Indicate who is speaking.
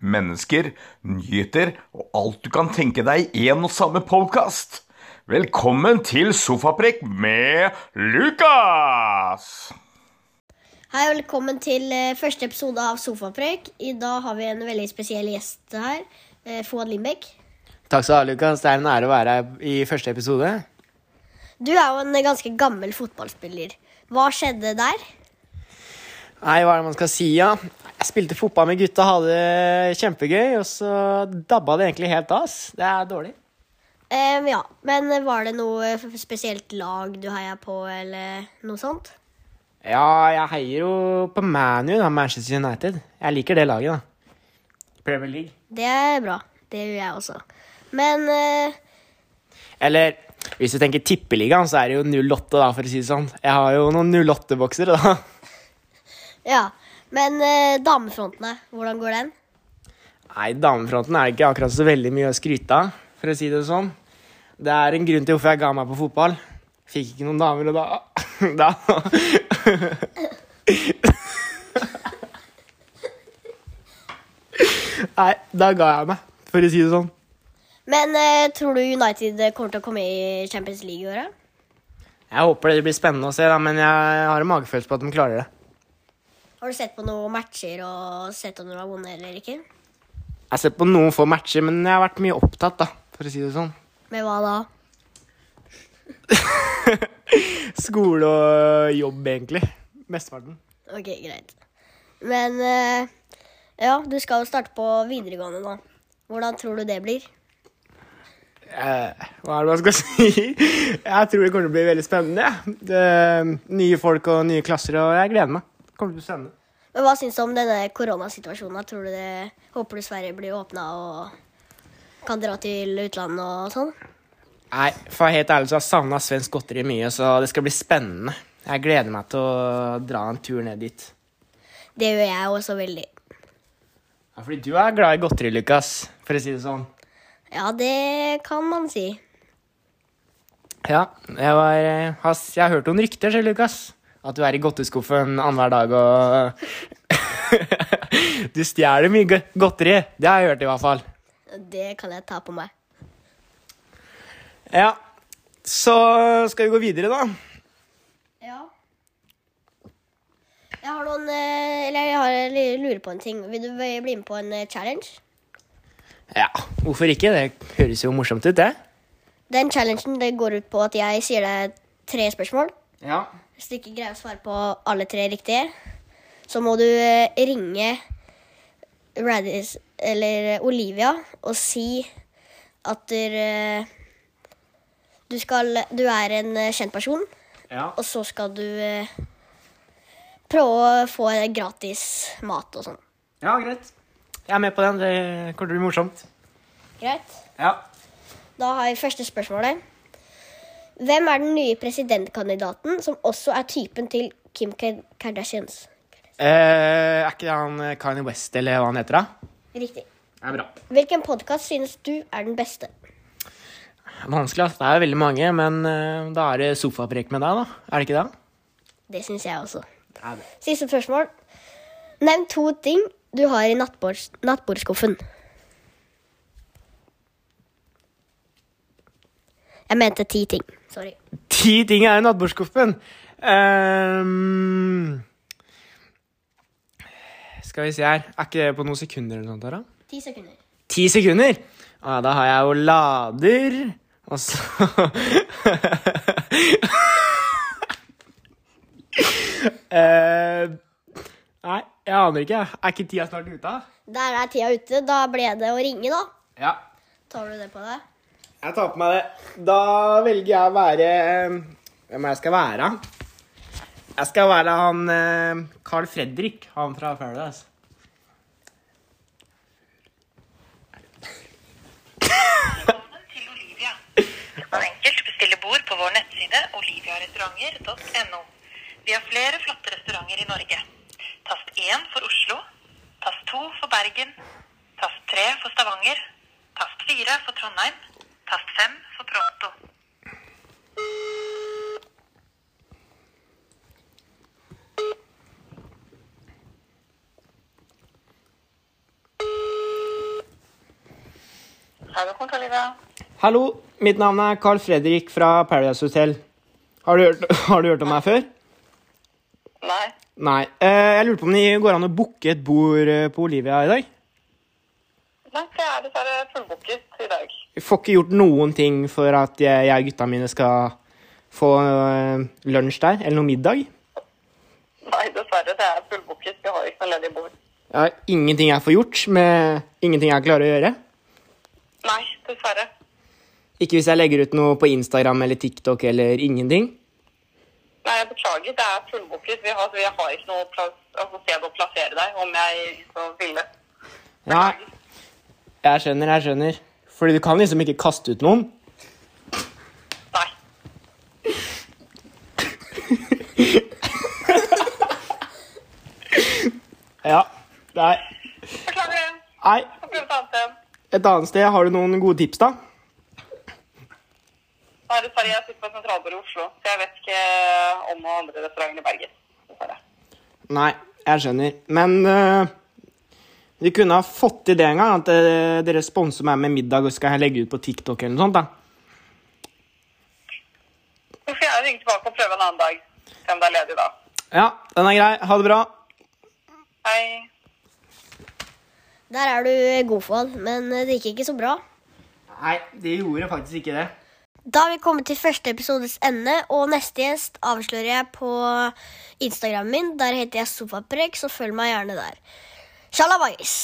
Speaker 1: mennesker, nyheter og alt du kan tenke deg i en og samme podkast. Velkommen til Sofaprek med Lukas!
Speaker 2: Hei og velkommen til eh, første episode av Sofaprøyk. I dag har vi en veldig spesiell gjest her. eh, Fouad Limbek.
Speaker 3: Takk skal du ha, Lukas. Det er en ære å være her i første episode.
Speaker 2: Du er jo en ganske gammel fotballspiller. Hva skjedde der?
Speaker 3: Nei, hva er det man skal si, ja? Jeg spilte fotball med gutta, hadde det kjempegøy, og så dabba det egentlig helt av. ass. Det er dårlig.
Speaker 2: Em, Eh, ja, Men var det noe eh, f- spesielt lag du heia på, eller noe sånt?
Speaker 3: Ja, jeg heier jo på ManU, da, Manchester United. Jeg liker det laget, da. Premier League.
Speaker 2: Det er bra. Det gjør jeg også. Men eh,
Speaker 3: Eller hvis du tenker tippeligaen, så er det jo 08, da, for å si det sånn. Jeg har jo noen 08-boksere, da.
Speaker 2: ja. Men eh, damefrontene, hvordan går den?
Speaker 3: Nei, damefronten er ikke akkurat så veldig mye å skryte av, for å si det sånn. Det er en grunn til hvorfor jeg ga meg på fotball. Fikk ikke noen damer, og da Da Nei, da ga jeg meg, for å si det sånn.
Speaker 2: Men eh, tror du United kommer til å komme i Champions League i året?
Speaker 3: Jeg håper det blir spennende å se, da, men jeg har en magefølelse på at de klarer det.
Speaker 2: Har du sett på noen matcher og sett om de har vunnet eller ikke?
Speaker 3: Jeg har sett på noen få matcher, men jeg har vært mye opptatt, da, for å si det sånn.
Speaker 2: Med hva da?
Speaker 3: Skole og jobb, egentlig. Mesteparten.
Speaker 2: Ok, greit. Men eh, ja, du skal jo starte på videregående nå. Hvordan tror du det blir?
Speaker 3: Eh, hva er det man skal si? Jeg tror det kommer til å bli veldig spennende. jeg. Det, eh, nye folk og nye klasser, og jeg gleder meg. Kommer til å bli spennende.
Speaker 2: Men hhva syns du om denne koronasituasjonen? da? Tror du det, Håper du Sverige blir åpna og kan dra til utlandet og sånn?
Speaker 3: Nei, for å være helt ærlig så har jeg savna svensk godteri mye, så det skal bli spennende. Jeg gleder meg til å dra en tur ned dit.
Speaker 2: Det gjør jeg også veldig.
Speaker 3: Ja, fordi du er glad i godteri, Lukas, for å si det sånn.
Speaker 2: Ja, det kan man si.
Speaker 3: Ja, jeg, var, eh, har s- jeg har hørt noen rykter, sier Lukas. At du er i godteskuffen annenhver dag og Du stjeler mye go- godteri. Det har jeg hørt, i hvert fall.
Speaker 2: Det kan jeg ta på meg.
Speaker 3: Ja, så skal vi gå videre, da.
Speaker 2: Ja. Jeg har noen eh, Eller jeg, har, jeg lurer på en ting. Vil du bli med på en eh, challenge?
Speaker 3: Ja, hvorfor ikke? Det høres jo morsomt ut, det.
Speaker 2: Den challengen det går ut på at jeg sier deg tre spørsmål.
Speaker 3: Ja.
Speaker 2: Hvis du ikke greier å svare på alle tre riktige, så må du eh, ringe Radis eller eh, Olivia og si at der, eh, du, skal, du er en eh, kjent person,
Speaker 3: ja.
Speaker 2: og så skal du eh, prøve å få gratis mat og sånn.
Speaker 3: greit. Jeg er med på den. Det kommer til å bli morsomt.
Speaker 2: Greit?
Speaker 3: Ja.
Speaker 2: Da har jeg første spørsmålet. Hvem er den nye presidentkandidaten som også er typen til Kim Ka- Kardashians?
Speaker 3: Eh, er ikke det han eh, Kanye West, eller hva han heter, da?
Speaker 2: Riktig.
Speaker 3: Det er bra.
Speaker 2: Hvilken podkast synes du er den beste?
Speaker 3: Vanskelig, ass. Det er veldig mange, men eh, da er det sofaprek med deg, da. Er det ikke det?
Speaker 2: Det syns jeg også.
Speaker 3: Er det.
Speaker 2: Siste spørsmål. Nevn to ting du har i nattbords nattbordskuffen. Jeg mente ti ting. Sorry.
Speaker 3: Ti ting er i nattbordskuffen. Ehm, skal vi se her. Er ikke det på noen sekunder eller noe sånt? her, da?
Speaker 2: Ti sekunder.
Speaker 3: Ti sekunder! Ah, da har jeg jo lader, og så Eh, Nei, jeg aner ikke. jeg. Er ikke tida snart ute? da?
Speaker 2: Der er tida ute. Da ble det å ringe, da.
Speaker 3: Ja.
Speaker 2: Tar du det på deg?
Speaker 3: Jeg tar på meg det. Da velger jeg å være eh, Hvem er jeg skal være? Jeg skal være han eh, Carl Fredrik, han fra Paradise.
Speaker 4: til Olivia. Det er enkelt å bestille bord på vår nettside oliviarestauranter.no. Vi har flere flotte restauranter i Norge. Tast 1 for Oslo. Tast 2 for Bergen. Tast 3 for Stavanger. Tast 4 for Trondheim. Tast 5 for Pronto. Radiokontor, Olivia.
Speaker 3: Hallo, mitt navn er Carl Fredrik fra Paradise Hotel. Har du hørt, har du hørt om meg før?
Speaker 4: Nei.
Speaker 3: Nei. Eh, jeg lurte på om det går an å booke et bord eh, på Olivia i dag?
Speaker 4: Nei, det er dessverre fullbooket i dag.
Speaker 3: Jeg får ikke gjort noen ting for at jeg, jeg og gutta mine skal få eh, lunsj der, eller noe middag.
Speaker 4: Nei, dessverre, det er fullbooket. Vi har ikke noe ledig bord.
Speaker 3: Jeg har ingenting jeg får gjort med ingenting jeg klarer å gjøre.
Speaker 4: Nei, dessverre.
Speaker 3: Ikke hvis jeg legger ut noe på Instagram eller TikTok eller ingenting.
Speaker 4: Nei, jeg beklager, det er fullbooket. Vi har, vi har ikke noe plass, altså, sted å plassere deg, om jeg så ville.
Speaker 3: Ja, jeg skjønner, jeg skjønner. Fordi du kan liksom ikke kaste ut noen.
Speaker 4: Nei.
Speaker 3: Ja. Nei.
Speaker 4: Beklager.
Speaker 3: Nei.
Speaker 4: Får prøve et annet sted.
Speaker 3: Et annet sted, har du noen gode tips, da?
Speaker 4: Nei, dessverre, jeg sitter på sentralbordet i Oslo, så jeg vet ikke eh, om noen andre restauranter i Bergen. Dessverre.
Speaker 3: Nei, jeg skjønner. Men øh, vi kunne ha fått til det en gang, at øh, dere sponser meg med middag og skal jeg legge ut på TikTok eller noe sånt. da.
Speaker 4: Så får jeg ringe tilbake og prøve en annen dag, se om det er ledig da.
Speaker 3: Ja, den er grei. Ha det bra.
Speaker 4: Hei.
Speaker 2: Der er du god for han, men det gikk ikke så bra.
Speaker 3: Nei, det gjorde faktisk ikke det.
Speaker 2: Da har vi kommet til første episodes ende, og neste gjest avslører jeg på Instagramen min. Der heter jeg Sofaprek, så følg meg gjerne der. Sjalabais!